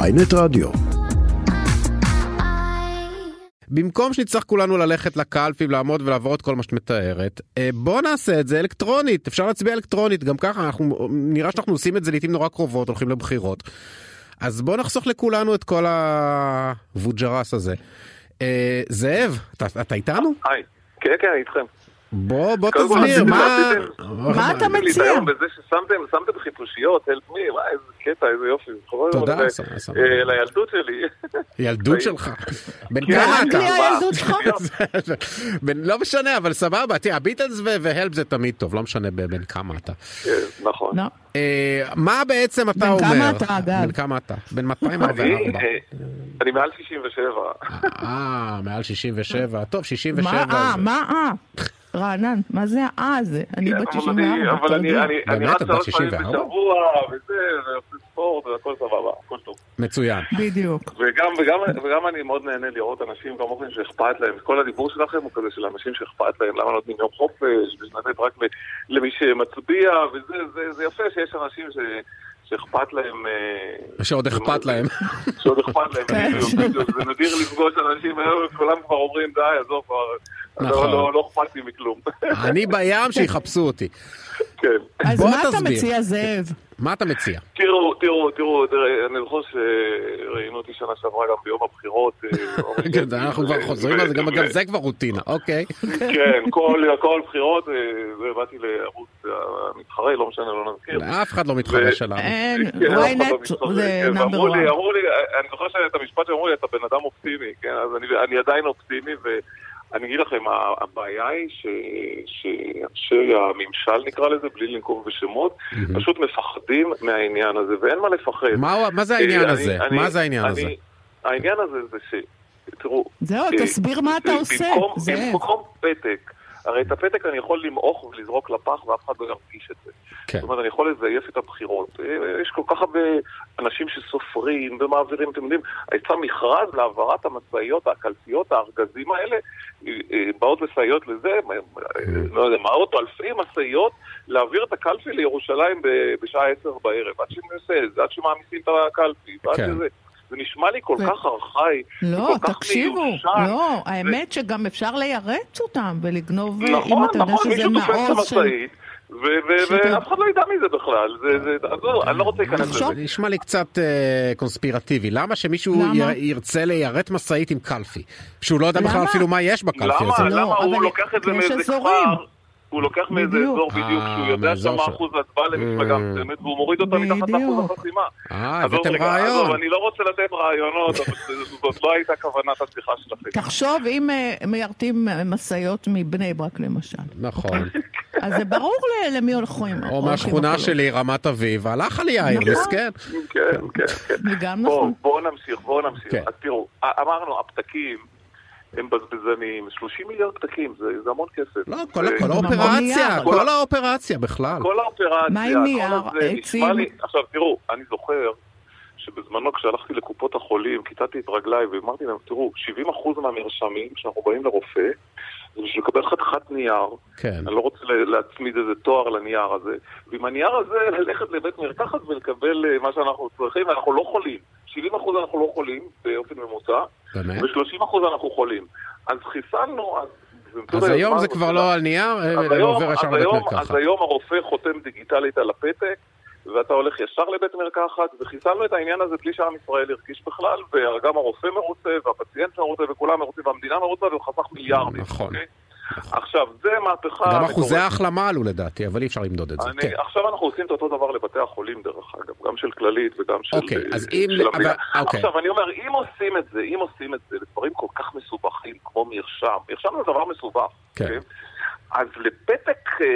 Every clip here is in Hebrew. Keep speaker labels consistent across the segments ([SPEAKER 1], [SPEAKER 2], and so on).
[SPEAKER 1] ויינט רדיו.
[SPEAKER 2] במקום שנצטרך כולנו ללכת לקלפי ולעמוד ולעבור את כל מה שאת מתארת, אה, בוא נעשה את זה אלקטרונית, אפשר להצביע אלקטרונית, גם ככה אנחנו, נראה שאנחנו עושים את זה לעיתים נורא קרובות, הולכים לבחירות. אז בוא נחסוך לכולנו את כל הווג'רס הזה. אה, זאב, אתה, אתה איתנו?
[SPEAKER 3] היי. כן, כן, אני איתכם.
[SPEAKER 2] בוא, בוא
[SPEAKER 3] קודם כל,
[SPEAKER 2] תסביר,
[SPEAKER 3] רציתי
[SPEAKER 2] מה... לא
[SPEAKER 4] מה אתה
[SPEAKER 3] לי את
[SPEAKER 4] מציע?
[SPEAKER 3] היום בזה ששמתם שמתם חיפושיות, help me, וואי, איזה קטע, איזה יופי. חבל
[SPEAKER 2] תודה,
[SPEAKER 3] מאוד, אה,
[SPEAKER 2] אסף, אסף.
[SPEAKER 3] אה, לילדות שלי.
[SPEAKER 2] ילדות שלך. בן
[SPEAKER 3] כן,
[SPEAKER 2] כמה אתה?
[SPEAKER 4] לי
[SPEAKER 3] וואו,
[SPEAKER 4] הילדות שלך?
[SPEAKER 2] בן- לא משנה, אבל סבבה, תראה, הביטלס ו- והלפ זה תמיד טוב, לא משנה ב- בן כמה אתה.
[SPEAKER 3] כן, נכון.
[SPEAKER 4] לא.
[SPEAKER 2] אה, מה בעצם אתה
[SPEAKER 4] בן
[SPEAKER 2] אומר?
[SPEAKER 4] כמה אתה, אגב?
[SPEAKER 2] בן כמה אתה? בן
[SPEAKER 3] אני,
[SPEAKER 2] 244.
[SPEAKER 3] אה, אני מעל 67.
[SPEAKER 2] אה, מעל 67. טוב, 67.
[SPEAKER 4] מה אה?
[SPEAKER 2] זה-
[SPEAKER 4] מה אה? רענן, מה זה האה הזה? אני בת
[SPEAKER 3] כן, אבל אני-
[SPEAKER 4] 64,
[SPEAKER 3] אבל
[SPEAKER 4] אתה
[SPEAKER 3] אני-
[SPEAKER 4] יודע.
[SPEAKER 3] אני- אני
[SPEAKER 2] באמת,
[SPEAKER 3] רץ
[SPEAKER 2] אתה
[SPEAKER 3] שלוש פעמים
[SPEAKER 2] 64?
[SPEAKER 3] בשבוע, וזה, ועושה ספורט, והכל סבבה, הכל טוב.
[SPEAKER 2] מצוין.
[SPEAKER 4] בדיוק.
[SPEAKER 3] וגם, וגם, וגם אני מאוד נהנה לראות אנשים כמוכם שאכפת להם, כל הדיבור שלכם הוא כזה של אנשים שאכפת להם, למה נותנים יום חופש, ושנתת רק ל- למי שמצביע, וזה זה, זה יפה שיש אנשים ש, שאכפת להם... אה,
[SPEAKER 2] שעוד אכפת להם.
[SPEAKER 3] שעוד אכפת להם,
[SPEAKER 4] כן.
[SPEAKER 3] בדיוק, בדיוק. זה נדיר לפגוש אנשים, היום כולם כבר אומרים די, עזוב כבר,
[SPEAKER 2] נכון.
[SPEAKER 3] לא- לא לא אכפת לי מכלום.
[SPEAKER 2] אני בים, שיחפשו אותי.
[SPEAKER 3] כן.
[SPEAKER 4] אז
[SPEAKER 2] בוא
[SPEAKER 4] מה אתה
[SPEAKER 2] תסביר.
[SPEAKER 4] מציע, זאב?
[SPEAKER 2] מה אתה מציע?
[SPEAKER 3] תראו, תראו, תראו, תראה, אני זוכר שראיינו אותי שנה שעברה גם ביום הבחירות. אה, אורי
[SPEAKER 2] כן, זה- אנחנו כבר
[SPEAKER 3] גלבשטיין,
[SPEAKER 2] חוזרים על זה, גם
[SPEAKER 3] ו-
[SPEAKER 2] גם זה כבר רוטינה, אוקיי.
[SPEAKER 3] כן, כל, כל בחירות, ובאתי לערוץ המתחרה, לא משנה, לא נזכיר.
[SPEAKER 2] אף אחד לא מתחרה
[SPEAKER 3] ו-
[SPEAKER 2] שלנו.
[SPEAKER 3] כן,
[SPEAKER 4] אין,
[SPEAKER 3] אף אחד לא
[SPEAKER 4] ynet
[SPEAKER 3] מתחרה.
[SPEAKER 4] זה
[SPEAKER 3] כן,
[SPEAKER 4] נאמבר
[SPEAKER 3] ואמרו
[SPEAKER 4] וואן.
[SPEAKER 3] לי, אמרו לי, אני זוכר שאת המשפט שאמרו לי, אתה בן אדם אופטימי, כן, אז אני, אני עדיין אופטימי, ואני אגיד לכם, ה- הבעיה היא ש- שאנשי הממשל, נקרא לזה, בלי לנקוב בשמות, פשוט מפחדים מהעניין הזה, ואין מה לפחד.
[SPEAKER 2] מה- מה זה העניין
[SPEAKER 3] אה, אני-
[SPEAKER 2] הזה?
[SPEAKER 3] אני-
[SPEAKER 2] מה זה העניין
[SPEAKER 3] אני-
[SPEAKER 2] הזה?
[SPEAKER 3] העניין הזה זה ש... תראו,
[SPEAKER 4] זהו,
[SPEAKER 3] אה,
[SPEAKER 4] לא, תסביר מה אתה עושה,
[SPEAKER 3] במקום,
[SPEAKER 4] זאב.
[SPEAKER 3] במקום פתק, הרי את הפתק אני יכול למעוך ולזרוק לפח ואף אחד לא ירגיש את זה.
[SPEAKER 2] כן.
[SPEAKER 3] זאת אומרת, אני יכול לזייף את הבחירות. אה, יש כל כך הרבה אנשים שסופרים ומעבירים, אתם יודעים, יצא מכרז להעברת המשאיות, הקלפיות, הארגזים האלה, אה, אה, באות משאיות לזה, אה, לא יודע, מאות או אלפי משאיות, להעביר את הקלפי לירושלים ב- בשעה עשר בערב, עד שנעשה את זה, עד שמעמיסים את הקלפי, ועד
[SPEAKER 2] כן.
[SPEAKER 3] שזה. זה נשמע לי כל
[SPEAKER 4] ו-
[SPEAKER 3] כך ארכאי.
[SPEAKER 4] לא,
[SPEAKER 3] כל כך
[SPEAKER 4] תקשיבו,
[SPEAKER 3] מיושן.
[SPEAKER 4] לא, האמת שגם אפשר ליירט אותם ולגנוב, אה, אם
[SPEAKER 3] נכון,
[SPEAKER 4] אתה יודע
[SPEAKER 3] נכון,
[SPEAKER 4] שזה
[SPEAKER 3] מישהו תופס את
[SPEAKER 4] מעוז של...
[SPEAKER 3] המשאית, ו- ו-
[SPEAKER 4] של-
[SPEAKER 3] ואף אחד לא ידע מזה בכלל. זה- זה- עזוב, אני לא רוצה להיכנס לזה.
[SPEAKER 4] תחשוב.
[SPEAKER 2] זה נשמע לי קצת אה, קונספירטיבי. למה שמישהו
[SPEAKER 4] למה?
[SPEAKER 2] י- ירצה ליירט משאית עם קלפי? שהוא לא יודע בכלל
[SPEAKER 4] למה?
[SPEAKER 2] אפילו מה יש בקלפי הזה.
[SPEAKER 3] למה?
[SPEAKER 4] לא,
[SPEAKER 3] למה הוא
[SPEAKER 4] אבל
[SPEAKER 3] לוקח את זה
[SPEAKER 4] יש
[SPEAKER 3] מאיזה
[SPEAKER 4] אזורים.
[SPEAKER 3] כפר? הוא לוקח מאיזה
[SPEAKER 4] בדיוק.
[SPEAKER 3] אזור בדיוק,
[SPEAKER 2] אה,
[SPEAKER 3] שהוא יודע
[SPEAKER 2] מהאזור
[SPEAKER 3] כמה
[SPEAKER 2] שלו.
[SPEAKER 3] אחוז הצבעה למפלגה מסוימת, והוא מוריד אותה מתחת לאחוז
[SPEAKER 4] בדיוק.
[SPEAKER 3] החסימה.
[SPEAKER 2] אה,
[SPEAKER 3] עזוב
[SPEAKER 2] הבאתם
[SPEAKER 3] רגע, עזוב,
[SPEAKER 2] רעיון.
[SPEAKER 3] אני לא רוצה לתת רעיונות, אבל זה- זאת לא הייתה כוונת השיחה שלכם.
[SPEAKER 4] תחשוב אם אה, מיירטים אה, משאיות מבני ברק למשל.
[SPEAKER 2] נכון.
[SPEAKER 4] אז זה ברור ל- למי הולכים.
[SPEAKER 2] או
[SPEAKER 4] הולכים לא.
[SPEAKER 2] מהשכונה
[SPEAKER 4] הקולות.
[SPEAKER 2] שלי, רמת אביב, הלך על יאיר,
[SPEAKER 4] נכון.
[SPEAKER 2] מסכן.
[SPEAKER 3] כן, כן, כן.
[SPEAKER 4] זה גם
[SPEAKER 3] בואו
[SPEAKER 4] נכון.
[SPEAKER 3] בוא נמשיך, בואו נמשיך.
[SPEAKER 2] כן.
[SPEAKER 3] אז תראו, א- אמרנו, הפתקים הם בזבזניים, 30 מיליארד פתקים, זה, זה המון כסף.
[SPEAKER 2] לא, כל
[SPEAKER 3] זה-
[SPEAKER 2] כל
[SPEAKER 4] ממש.
[SPEAKER 2] האופרציה, כל האופרציה בכלל.
[SPEAKER 3] כל האופרציה,
[SPEAKER 4] מה עם
[SPEAKER 3] כל
[SPEAKER 4] נייר,
[SPEAKER 3] הזה, נשמע
[SPEAKER 4] עצים?
[SPEAKER 3] לי- עכשיו תראו, אני זוכר שבזמנו כשהלכתי לקופות החולים, כיתתי את רגליי ואמרתי להם, תראו, 70% מהמרשמים כשאנחנו באים לרופא, זה בשביל לקבל חתיכת נייר,
[SPEAKER 2] כן.
[SPEAKER 3] אני לא רוצה לה- להצמיד איזה תואר לנייר הזה, ועם הנייר הזה ללכת לבית מרקחת ולקבל אה, מה שאנחנו צריכים, אנחנו לא חולים. 70% אנחנו לא חולים באופן ממוצע,
[SPEAKER 2] באמת?
[SPEAKER 3] ו-30% אנחנו חולים. אז חיסלנו, אז...
[SPEAKER 2] אז היום זה כבר לא על נייר,
[SPEAKER 3] אז
[SPEAKER 2] אלא
[SPEAKER 3] היום-
[SPEAKER 2] עובר ישר
[SPEAKER 3] אז
[SPEAKER 2] לבית
[SPEAKER 3] היום-
[SPEAKER 2] מרקחת.
[SPEAKER 3] אז היום הרופא חותם דיגיטלית על הפתק, ואתה הולך ישר לבית מרקחת, וחיסלנו את העניין הזה בלי שעם ישראל הרגיש בכלל, וגם הרופא מרוצה, והפציינט מרוצה, וכולם מרוצים, והמדינה מרוצה, והוא חסך מיליארדים.
[SPEAKER 2] נכון.
[SPEAKER 3] אוקיי?
[SPEAKER 2] נכון.
[SPEAKER 3] עכשיו, זה מהפכה...
[SPEAKER 2] גם
[SPEAKER 3] מטורפת.
[SPEAKER 2] אחוזי ההחלמה עלו לדעתי, אבל אי אפשר למדוד את זה.
[SPEAKER 3] לא אני,
[SPEAKER 2] כן.
[SPEAKER 3] עכשיו אנחנו עושים את אותו דבר לבתי החולים דרך אגב, גם של כללית וגם של...
[SPEAKER 2] אוקיי, אז
[SPEAKER 3] אה,
[SPEAKER 2] אם-
[SPEAKER 3] של המדינה.
[SPEAKER 2] אבל- אוקיי.
[SPEAKER 3] עכשיו, אני אומר, אם עושים את זה, אם עושים את זה לדברים כל כך מסובכים כמו מרשם, מרשם זה דבר מסובך,
[SPEAKER 2] כן.
[SPEAKER 3] אוקיי? אז לפתק אה,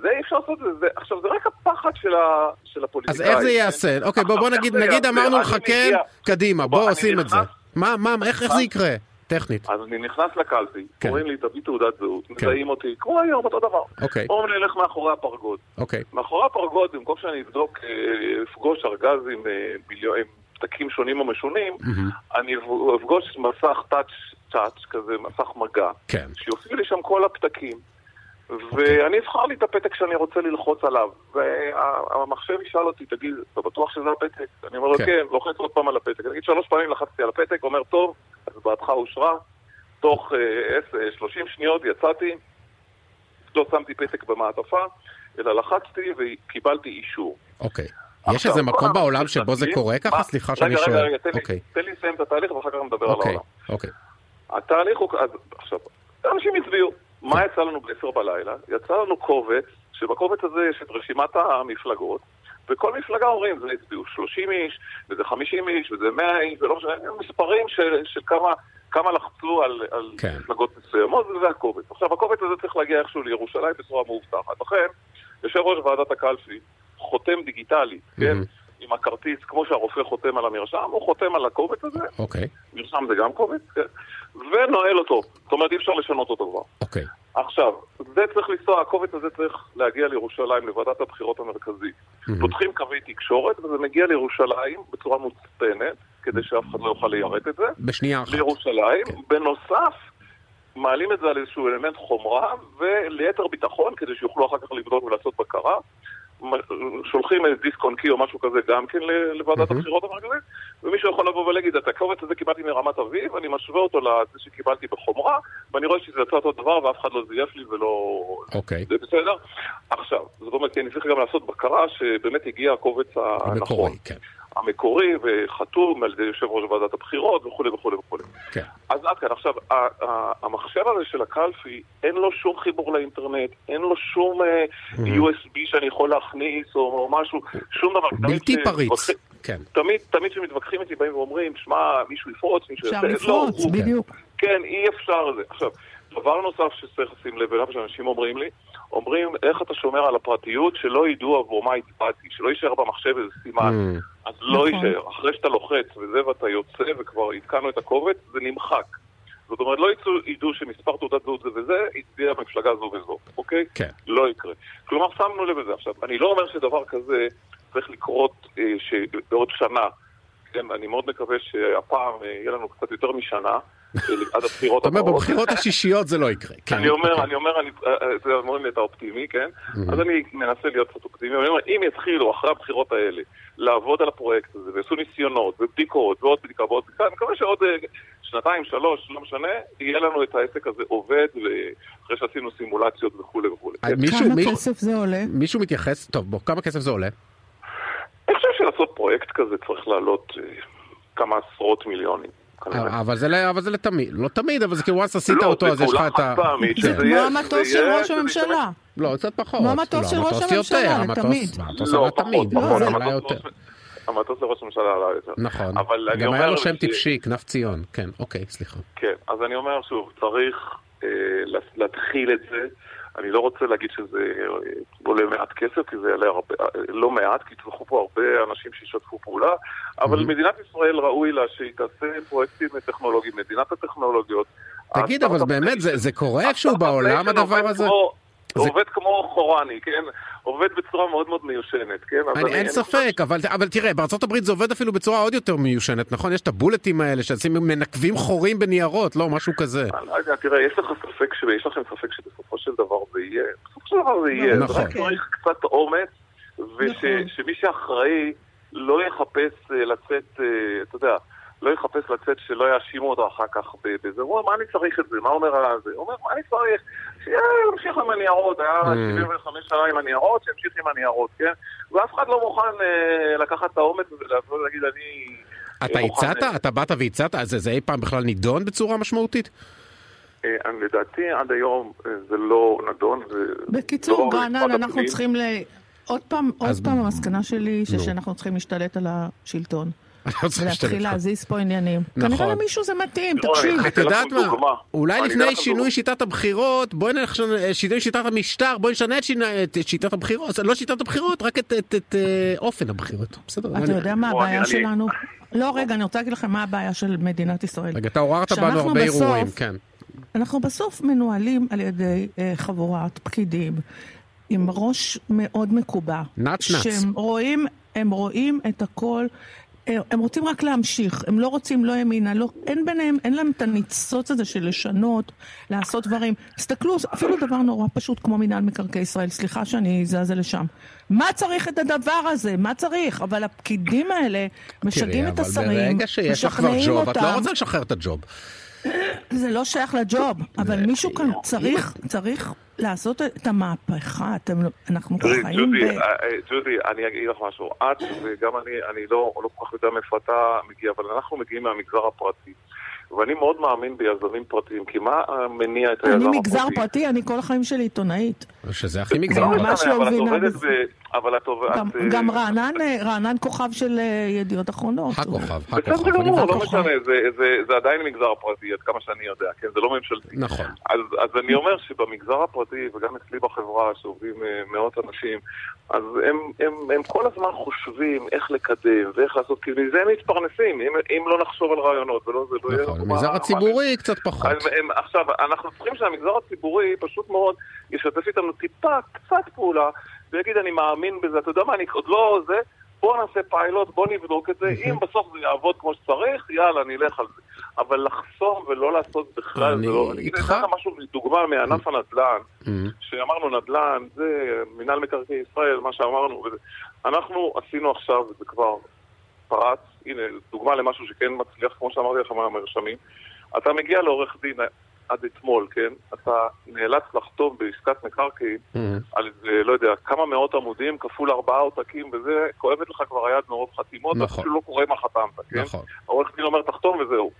[SPEAKER 3] זה אי אפשר לעשות את זה, זה- עכשיו זה רק הפחד של, ה, של
[SPEAKER 2] אז
[SPEAKER 3] הפוליטיקאים.
[SPEAKER 2] איך זה
[SPEAKER 3] כן?
[SPEAKER 2] ייעשה? אוקיי, בוא בוא
[SPEAKER 3] עכשיו,
[SPEAKER 2] נגיד,
[SPEAKER 3] איך זה
[SPEAKER 2] נגיד
[SPEAKER 3] ייעשה?
[SPEAKER 2] אמרנו
[SPEAKER 3] אני
[SPEAKER 2] לך כן,
[SPEAKER 3] מגיע-
[SPEAKER 2] קדימה, בוא
[SPEAKER 3] אני
[SPEAKER 2] עושים את זה.
[SPEAKER 3] נכנס- אה.
[SPEAKER 2] מה, מה, מה, איך איך זה
[SPEAKER 3] נכנס-
[SPEAKER 2] יקרה? טכנית.
[SPEAKER 3] אז אני נכנס לקלפי,
[SPEAKER 2] כן.
[SPEAKER 3] קוראים לי, תביא תעודת זהות,
[SPEAKER 2] כן.
[SPEAKER 3] מזהים אותי, כמו היום, אותו דבר.
[SPEAKER 2] אוקיי,
[SPEAKER 3] אומרים לי, לך מאחורי הפרגוד.
[SPEAKER 2] אוקיי.
[SPEAKER 3] מאחורי הפרגוד, במקום שאני אבדוק, אה, אפגוש ארגז עם אה, מיליו- עם פתקים שונים ומשונים,
[SPEAKER 2] מהמם.
[SPEAKER 3] אני אב- אפגוש מסך טאץ' טאץ', כזה מסך מגע,
[SPEAKER 2] כן.
[SPEAKER 3] שיופיעו לי שם כל הפתקים. ואני אבחר לי את הפתק שאני רוצה ללחוץ עליו. והמחשב ישאל אותי, תגיד, אתה בטוח שזה הפתק? אני אומר לו,
[SPEAKER 2] כן.
[SPEAKER 3] כן, לוחץ עוד פעם על הפתק. נגיד שלוש פעמים לחצתי על הפתק, אומר, טוב, הצבעתך אושרה. תוך אה, עשר- אה, 30 שניות יצאתי, לא שמתי פתק במעטפה, אלא לחצתי וקיבלתי אישור.
[SPEAKER 2] אוקיי. יש
[SPEAKER 3] עכשיו,
[SPEAKER 2] איזה
[SPEAKER 3] כל
[SPEAKER 2] מקום
[SPEAKER 3] האנשים
[SPEAKER 2] בעולם שבו זה
[SPEAKER 3] מסתכלים-
[SPEAKER 2] קורה
[SPEAKER 3] מה?
[SPEAKER 2] ככה? סליחה
[SPEAKER 3] רגע,
[SPEAKER 2] שאני
[SPEAKER 3] רגע,
[SPEAKER 2] שואל.
[SPEAKER 3] רגע, תן לי-
[SPEAKER 2] אוקיי,
[SPEAKER 3] תן לי לסיים את התהליך ואחר כך נדבר על
[SPEAKER 2] אוקיי,
[SPEAKER 3] העולם.
[SPEAKER 2] אוקיי.
[SPEAKER 3] התהליך הוא... אז, עכשיו, אנשים הצביעו.
[SPEAKER 2] כן.
[SPEAKER 3] מה יצא לנו ב-10 בלילה? יצא לנו קובץ, שבקובץ הזה יש את רשימת המפלגות, וכל מפלגה אומרים, זה הצביעו 30 איש, וזה 50 איש, וזה 100 איש, ולא משנה, מספרים של, של כמה, כמה לחצו על, על
[SPEAKER 2] כן.
[SPEAKER 3] מפלגות מסוימות, וזה הקובץ. עכשיו, הקובץ הזה צריך להגיע איכשהו לירושלים בצורה מאובטחת. לכן, יושב ראש ועדת הקלפי חותם דיגיטלית, כן?
[SPEAKER 2] מהמם.
[SPEAKER 3] עם הכרטיס, כמו שהרופא חותם על המרשם, הוא חותם על הקובץ הזה,
[SPEAKER 2] אוקיי,
[SPEAKER 3] מרשם זה גם קובץ, כן. ונועל אותו. זאת אומרת, אי אפשר לשנות אותו כבר.
[SPEAKER 2] אוקיי.
[SPEAKER 3] עכשיו, זה צריך לנסוע, הקובץ הזה צריך להגיע לירושלים, לוועדת הבחירות המרכזית.
[SPEAKER 2] מהמם.
[SPEAKER 3] פותחים קווי תקשורת, וזה מגיע לירושלים בצורה מוצפנת, כדי שאף אחד לא יוכל ליירט את זה.
[SPEAKER 2] בשנייה אחת.
[SPEAKER 3] לירושלים,
[SPEAKER 2] כן.
[SPEAKER 3] בנוסף, מעלים את זה על איזשהו אלמנט חומרה, וליתר ביטחון, כדי שיוכלו אחר כך לבדוק ולעשות בקרה. מ- שולחים איזה דיסק און קי או משהו כזה גם כן ל- לוועדת
[SPEAKER 2] מהמם.
[SPEAKER 3] הבחירות המרכזית, ומישהו יכול לבוא ולהגיד, את הקובץ הזה קיבלתי מרמת אביב, אני משווה אותו לזה שקיבלתי בחומרה, ואני רואה שזה יצא אותו דבר ואף אחד לא זייף לי ולא
[SPEAKER 2] אוקיי.
[SPEAKER 3] זה בסדר? עכשיו, זאת אומרת, כי אני צריך גם לעשות בקרה שבאמת הגיע הקובץ הנכון,
[SPEAKER 2] המקורי, כן.
[SPEAKER 3] המקורי וחתום על ידי יושב ראש ועדת הבחירות וכולי וכולי וכולי.
[SPEAKER 2] כן.
[SPEAKER 3] אז עד כאן, עכשיו, ה- ה- המחשב הזה של הקלפי, אין לו שום חיבור לאינטרנט, אין לו שום אה, USB שאני יכול להכניס או- או משהו, שום דבר.
[SPEAKER 2] בלתי
[SPEAKER 3] תמיד
[SPEAKER 2] פריץ.
[SPEAKER 3] שמתווכחים-
[SPEAKER 2] כן.
[SPEAKER 3] תמיד, תמיד כשמתווכחים איתי באים ואומרים, שמע, מישהו יפרוץ, מישהו
[SPEAKER 4] אפשר
[SPEAKER 3] יעשה."
[SPEAKER 4] לפרוץ,
[SPEAKER 3] לא, הוא-
[SPEAKER 4] בדיוק.
[SPEAKER 3] כן, אי אפשר זה. עכשיו, דבר נוסף שצריך לשים לב אליו, שאנשים אומרים לי, אומרים, איך אתה שומר על הפרטיות, שלא ידעו עבור מה הצבעתי, שלא יישאר במחשב איזה סימן.
[SPEAKER 2] מהמם.
[SPEAKER 3] אז לא
[SPEAKER 4] נכון.
[SPEAKER 3] יישאר. אחרי שאתה לוחץ וזה ואתה יוצא וכבר עדכנו את הקובץ, זה נמחק. זאת אומרת, לא יצאו, ידעו שמספר תעודת זהות זה וזה, הצביע מפלגה זו וזו, אוקיי?
[SPEAKER 2] כן.
[SPEAKER 3] לא יקרה. כלומר, שמנו לב לזה. עכשיו, אני לא אומר שדבר כזה צריך לקרות אה, שבעוד שנה. כן, אני מאוד מקווה שהפעם אה, יהיה לנו קצת יותר משנה, אה, עד הבחירות
[SPEAKER 2] אתה אומר,
[SPEAKER 3] הבאות.
[SPEAKER 2] בבחירות השישיות זה לא יקרה. כן.
[SPEAKER 3] אני אומר,
[SPEAKER 2] אוקיי.
[SPEAKER 3] אני אומר, אני- אה, אה, זה אומרים לי אתה אופטימי, כן?
[SPEAKER 2] מהמם.
[SPEAKER 3] אז אני מנסה להיות קצת אופטימי, אני אומר, אם יתחילו אחרי הבחירות האלה לעבוד על הפרויקט הזה, ויעשו ניסיונות, ובדיקות, ועוד בדיקה ועוד בדיקה, אני מקווה שעוד אה, שנתיים, שלוש, לא משנה, יהיה לנו את העסק הזה עובד, אחרי שעשינו סימולציות וכולי וכולי.
[SPEAKER 2] אז
[SPEAKER 3] כן.
[SPEAKER 2] מישהו-
[SPEAKER 4] כמה
[SPEAKER 2] מישהו-
[SPEAKER 4] כסף זה עולה?
[SPEAKER 2] מישהו מתייחס, טוב, בוא, כמה כסף זה עולה?
[SPEAKER 3] אני חושב שלעשות פרויקט כזה צריך לעלות אה, כמה עשרות מיליונים.
[SPEAKER 2] אה,
[SPEAKER 3] כנראה.
[SPEAKER 2] אבל זה ל- אבל זה לתמיד, לא תמיד, אבל זה כאילו once עשית
[SPEAKER 3] לא,
[SPEAKER 2] אותו,
[SPEAKER 3] זה
[SPEAKER 2] אז יש לך
[SPEAKER 3] כולה
[SPEAKER 2] את ה...
[SPEAKER 3] חד פעמית,
[SPEAKER 2] כן.
[SPEAKER 3] שזה
[SPEAKER 4] זה
[SPEAKER 3] יהיה-
[SPEAKER 4] כמו
[SPEAKER 3] זה
[SPEAKER 4] המטוס של
[SPEAKER 3] יהיה-
[SPEAKER 4] ראש
[SPEAKER 3] זה
[SPEAKER 4] הממשלה.
[SPEAKER 2] לא, קצת פחות.
[SPEAKER 4] כמו המטוס
[SPEAKER 2] לא,
[SPEAKER 4] של ראש
[SPEAKER 2] המטוס
[SPEAKER 4] הממשלה,
[SPEAKER 2] יותר,
[SPEAKER 4] לתמיד.
[SPEAKER 2] המטוס- המטוס
[SPEAKER 3] לא,
[SPEAKER 2] עלה
[SPEAKER 3] פחות,
[SPEAKER 2] תמיד,
[SPEAKER 4] לא,
[SPEAKER 2] אבל
[SPEAKER 4] זה-
[SPEAKER 2] עלה
[SPEAKER 3] המטוס
[SPEAKER 2] יותר.
[SPEAKER 3] לראש- המטוס לראש הממשלה עלה יותר.
[SPEAKER 2] נכון.
[SPEAKER 3] אבל אני
[SPEAKER 2] גם
[SPEAKER 3] אומר
[SPEAKER 2] היה לו
[SPEAKER 3] ש-
[SPEAKER 2] שם טיפשי, כנף ציון. כן, אוקיי, סליחה.
[SPEAKER 3] כן, אז אני אומר שוב, צריך אה, לה- להתחיל את זה. אני לא רוצה להגיד שזה אה, עולה מעט כסף, כי זה יעלה הרבה, אה, לא מעט, כי יצטרכו פה הרבה אנשים שישתפו פעולה, אבל
[SPEAKER 2] Mm-hmm.
[SPEAKER 3] מדינת ישראל ראוי לה שהיא תעשה פרויקטים טכנולוגיים, מדינת הטכנולוגיות.
[SPEAKER 2] תגיד, אבל
[SPEAKER 3] הסטארט-אפ
[SPEAKER 2] באמת, זה- זה קורה איפשהו
[SPEAKER 3] הסטארט-אפ
[SPEAKER 2] בעולם
[SPEAKER 3] ניישן
[SPEAKER 2] הדבר
[SPEAKER 3] לא עובד
[SPEAKER 2] הזה?
[SPEAKER 3] כמו-
[SPEAKER 2] זה-
[SPEAKER 3] עובד כמו חורני, כן? עובד בצורה מאוד מאוד מיושנת, כן? אז
[SPEAKER 2] אני, אין
[SPEAKER 3] אני חושב
[SPEAKER 2] ספק, אבל, אבל תראה, בארצות הברית זה עובד אפילו בצורה עוד יותר מיושנת, נכון? יש את הבולטים האלה שעושים, מנקבים חורים בניירות, לא, משהו כזה.
[SPEAKER 3] אני לא יודע, תראה, יש לך ספק, ש... יש לכם ספק שבסופו של דבר זה יהיה. בסופו של דבר זה יהיה.
[SPEAKER 2] נכון.
[SPEAKER 3] זה רק צריך קצת אומץ,
[SPEAKER 4] נכון.
[SPEAKER 3] ושמי שאחראי לא יחפש אה, לצאת, אה, אתה יודע, לא יחפש לצאת שלא יאשימו אותו אחר כך ב- בזה. הוא אומר, מה אני צריך את זה? מה אומר ה- זה? הוא אומר, מה אני צריך? שימשיך עם הניירות, היה
[SPEAKER 2] Mm.
[SPEAKER 3] 75 שנה עם הניירות, שימשיך עם הניירות, כן? ואף אחד לא מוכן אה, לקחת את האומץ הזה לבוא ולהגיד, אני...
[SPEAKER 2] אתה
[SPEAKER 3] אה, מוכן-
[SPEAKER 2] הצעת? אתה באת והצעת? אז זה- זה אי פעם בכלל נידון בצורה משמעותית?
[SPEAKER 3] אה, אני- לדעתי עד היום אה, זה לא נדון. זה-
[SPEAKER 4] בקיצור,
[SPEAKER 3] לא
[SPEAKER 4] רענן,
[SPEAKER 3] משרד
[SPEAKER 4] אנחנו
[SPEAKER 3] הפנים.
[SPEAKER 4] צריכים ל... עוד פעם, עוד
[SPEAKER 2] אז-
[SPEAKER 4] פעם המסקנה שלי, ש-
[SPEAKER 2] נו.
[SPEAKER 4] שאנחנו צריכים להשתלט על השלטון.
[SPEAKER 2] אני לא צריך להשתלט
[SPEAKER 4] ולהתחיל
[SPEAKER 2] לך.
[SPEAKER 4] להזיז פה עניינים.
[SPEAKER 2] נכון.
[SPEAKER 4] כנראה למישהו זה מתאים,
[SPEAKER 3] לא, אני
[SPEAKER 4] תקשיב.
[SPEAKER 3] אתן
[SPEAKER 2] את יודעת
[SPEAKER 3] לכם
[SPEAKER 2] מה?
[SPEAKER 3] דוגמה.
[SPEAKER 2] אולי
[SPEAKER 3] אני לא אתן
[SPEAKER 2] לפני
[SPEAKER 3] לכם
[SPEAKER 2] שינוי
[SPEAKER 3] דוגמה.
[SPEAKER 2] שיטת הבחירות, בואי נלך לשנות- שינוי שיטת המשטר, בואי נשנה את שינה- את שיטת הבחירות, לא שיטת הבחירות, רק את- את את, אה, אופן הבחירות. בסדר.
[SPEAKER 4] אתה
[SPEAKER 2] אני-
[SPEAKER 4] יודע מה
[SPEAKER 3] בוא,
[SPEAKER 4] הבעיה
[SPEAKER 3] אני-
[SPEAKER 4] שלנו? לא, רגע, אני רוצה להגיד לכם מה הבעיה של מדינת ישראל.
[SPEAKER 2] רגע, אתה עוררת בנו
[SPEAKER 4] שאנחנו
[SPEAKER 2] הרבה
[SPEAKER 4] בסוף-
[SPEAKER 2] הרהורים, כן.
[SPEAKER 4] אנחנו בסוף מנוהלים על ידי אה, חבורת פקידים עם ראש מאוד מקובע.
[SPEAKER 2] נץ, נץ.
[SPEAKER 4] שהם רואים, הם רואים את הכל. הם- הם רוצים רק להמשיך, הם לא רוצים לא ימינה, לא, אין ביניהם, אין להם את הניצוץ הזה של לשנות, לעשות דברים. תסתכלו, אפילו דבר נורא פשוט כמו מינהל מקרקעי ישראל, סליחה שאני זזה לשם. מה צריך את הדבר הזה? מה צריך? אבל הפקידים האלה משגעים
[SPEAKER 2] תראי,
[SPEAKER 4] את
[SPEAKER 2] אבל
[SPEAKER 4] השרים,
[SPEAKER 2] ברגע שיש לך כבר
[SPEAKER 4] משכנעים
[SPEAKER 2] ג'וב, את לא
[SPEAKER 4] אותם,
[SPEAKER 2] רוצה לשחרר את הג'וב.
[SPEAKER 4] זה לא שייך לג'וב, אבל מישהו כאן צריך, צריך לעשות את המהפכה, אתם, לא- אנחנו
[SPEAKER 3] תראי,
[SPEAKER 4] חיים
[SPEAKER 3] ג'ודי,
[SPEAKER 4] ב...
[SPEAKER 3] אה, אה, ג'ודי, אני אגיד לך משהו. את וגם אני, אני לא לא כל כך יודע מאיפה אתה מגיע, אבל אנחנו מגיעים מהמגזר הפרטי. ואני מאוד מאמין ביזמים פרטיים, כי מה אה, מניע את היזם
[SPEAKER 4] אני
[SPEAKER 3] הפרטי?
[SPEAKER 4] מגזר פרטי, אני כל החיים שלי עיתונאית.
[SPEAKER 2] שזה הכי
[SPEAKER 4] זה
[SPEAKER 2] מגזר.
[SPEAKER 4] ממש
[SPEAKER 3] לא
[SPEAKER 2] פרטי.
[SPEAKER 3] משנה,
[SPEAKER 4] לא
[SPEAKER 3] אבל את
[SPEAKER 4] מבינה
[SPEAKER 3] עובדת
[SPEAKER 4] בזה.
[SPEAKER 3] ב- אבל את עובדת...
[SPEAKER 4] גם-
[SPEAKER 3] אה,
[SPEAKER 4] גם רענן, אה, רענן כוכב של אה, ידיעות אחרונות.
[SPEAKER 2] הכוכב,
[SPEAKER 3] בסדר
[SPEAKER 2] הכוכב. אני
[SPEAKER 3] גמור,
[SPEAKER 2] מבין.
[SPEAKER 3] לא
[SPEAKER 4] הכוכב.
[SPEAKER 3] משנה, זה- זה- זה עדיין מגזר פרטי, עד כמה שאני יודע, כן? זה לא ממשלתי.
[SPEAKER 2] נכון.
[SPEAKER 3] אז, אז אני אומר שבמגזר הפרטי, וגם אצלי בחברה, שעובדים אה, מאות אנשים, אז הם, הם, הם כל הזמן חושבים איך לקדם ואיך לעשות, כי מזה הם מתפרנסים, אם, אם לא נחשוב על רעיונות, ולא, זה לא יהיה...
[SPEAKER 2] נכון,
[SPEAKER 3] לנו מה-
[SPEAKER 2] המגזר
[SPEAKER 3] מה-
[SPEAKER 2] הציבורי קצת פחות.
[SPEAKER 3] אז הם, עכשיו, אנחנו צריכים שהמגזר הציבורי פשוט מאוד ישתף איתנו טיפה, קצת פעולה, ויגיד, אני מאמין בזה, אתה יודע מה, אני עוד לא זה, בוא נעשה פיילוט, בוא נבדוק את זה, אם בסוף זה יעבוד כמו שצריך, יאללה, נלך על זה. אבל לחסום ולא לעשות בכלל,
[SPEAKER 2] אני
[SPEAKER 3] זה לא... אני אגיד
[SPEAKER 2] איתך.
[SPEAKER 3] לך משהו, דוגמה מענף הנדל"ן,
[SPEAKER 2] אמ,
[SPEAKER 3] שאמרנו נדל"ן, זה מינהל מקרקעי ישראל, מה שאמרנו. וזה. אנחנו עשינו עכשיו, זה כבר פרץ, הנה, דוגמה למשהו שכן מצליח, כמו שאמרתי לך מהמרשמים. אתה מגיע לעורך דין אה, עד אתמול, כן? אתה נאלץ לחתום בעסקת מקרקעין
[SPEAKER 2] אמ.
[SPEAKER 3] על איזה, לא יודע, כמה מאות עמודים כפול ארבעה עותקים וזה, כואבת לך כבר היד מרוב חתימות, אתה
[SPEAKER 2] נכון.
[SPEAKER 3] אפילו לא קורא מה חתמת, כן?
[SPEAKER 2] נכון.
[SPEAKER 3] העורך דין אומר תחתום וזהו.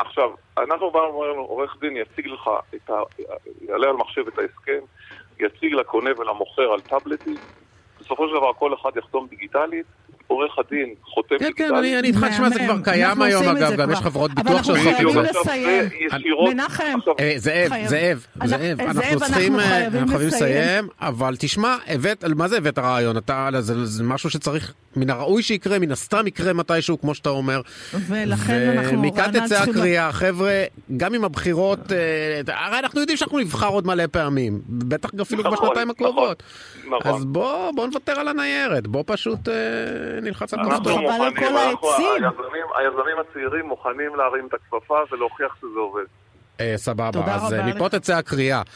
[SPEAKER 3] עכשיו, אנחנו באנו ואמרנו, עורך דין יציג לך, את ה... יעלה על מחשב את ההסכם, יציג לקונה ולמוכר על טאבלטים, בסופו של דבר כל אחד יחתום דיגיטלית, עורך הדין חותם
[SPEAKER 2] כן,
[SPEAKER 3] דיגיטלית.
[SPEAKER 2] כן, אני אני איתך, תשמע, זה
[SPEAKER 4] מהמם.
[SPEAKER 2] כבר קיים
[SPEAKER 4] אנחנו
[SPEAKER 2] היום,
[SPEAKER 4] עושים את
[SPEAKER 2] אגב,
[SPEAKER 4] זה
[SPEAKER 2] גם
[SPEAKER 4] כבר.
[SPEAKER 2] יש חברות
[SPEAKER 4] אבל
[SPEAKER 2] ביטוח
[SPEAKER 4] אנחנו
[SPEAKER 2] שעושות
[SPEAKER 4] חייבים
[SPEAKER 2] את זה.
[SPEAKER 3] בדיוק, עכשיו
[SPEAKER 4] לסיים.
[SPEAKER 3] זה ישירות...
[SPEAKER 4] מנחם.
[SPEAKER 3] עכשיו,
[SPEAKER 2] אה, זאב,
[SPEAKER 4] חייב.
[SPEAKER 2] זאב,
[SPEAKER 4] אנחנו-
[SPEAKER 2] זאב,
[SPEAKER 4] זאב,
[SPEAKER 2] אנחנו
[SPEAKER 4] אנחנו
[SPEAKER 2] צריכים, אה,
[SPEAKER 4] חייבים
[SPEAKER 2] אנחנו חייבים
[SPEAKER 4] לסיים.
[SPEAKER 2] לסיים, אבל תשמע, הבאת, על מה זה הבאת רעיון? אתה, זה זה משהו שצריך, מן הראוי שיקרה, מן הסתם יקרה מתישהו, כמו שאתה אומר.
[SPEAKER 4] ולכן אנחנו...
[SPEAKER 2] ומכאן
[SPEAKER 4] רענן
[SPEAKER 2] תצא
[SPEAKER 4] צריכים לה-
[SPEAKER 2] הקריאה, חבר'ה, גם עם הבחירות, אה, הרי אנחנו יודעים שאנחנו נבחר עוד מלא פעמים, בטח אפילו
[SPEAKER 3] נכון,
[SPEAKER 2] בשנתיים
[SPEAKER 3] נכון,
[SPEAKER 2] הקרובות.
[SPEAKER 3] נכון.
[SPEAKER 2] אז בוא בוא נוותר על הניירת, בוא פשוט אה, נלחץ על
[SPEAKER 4] אנחנו
[SPEAKER 3] אנחנו
[SPEAKER 2] כפתור.
[SPEAKER 4] חבל על
[SPEAKER 3] מוכנים,
[SPEAKER 4] כל
[SPEAKER 3] אנחנו-
[SPEAKER 4] העצים.
[SPEAKER 3] היזמים- היזמים הצעירים מוכנים להרים את הכפפה ולהוכיח שזה עובד.
[SPEAKER 2] אה, סבבה,
[SPEAKER 4] תודה
[SPEAKER 2] אז אה,
[SPEAKER 4] רבה
[SPEAKER 2] מפה
[SPEAKER 4] לך.
[SPEAKER 2] תצא הקריאה.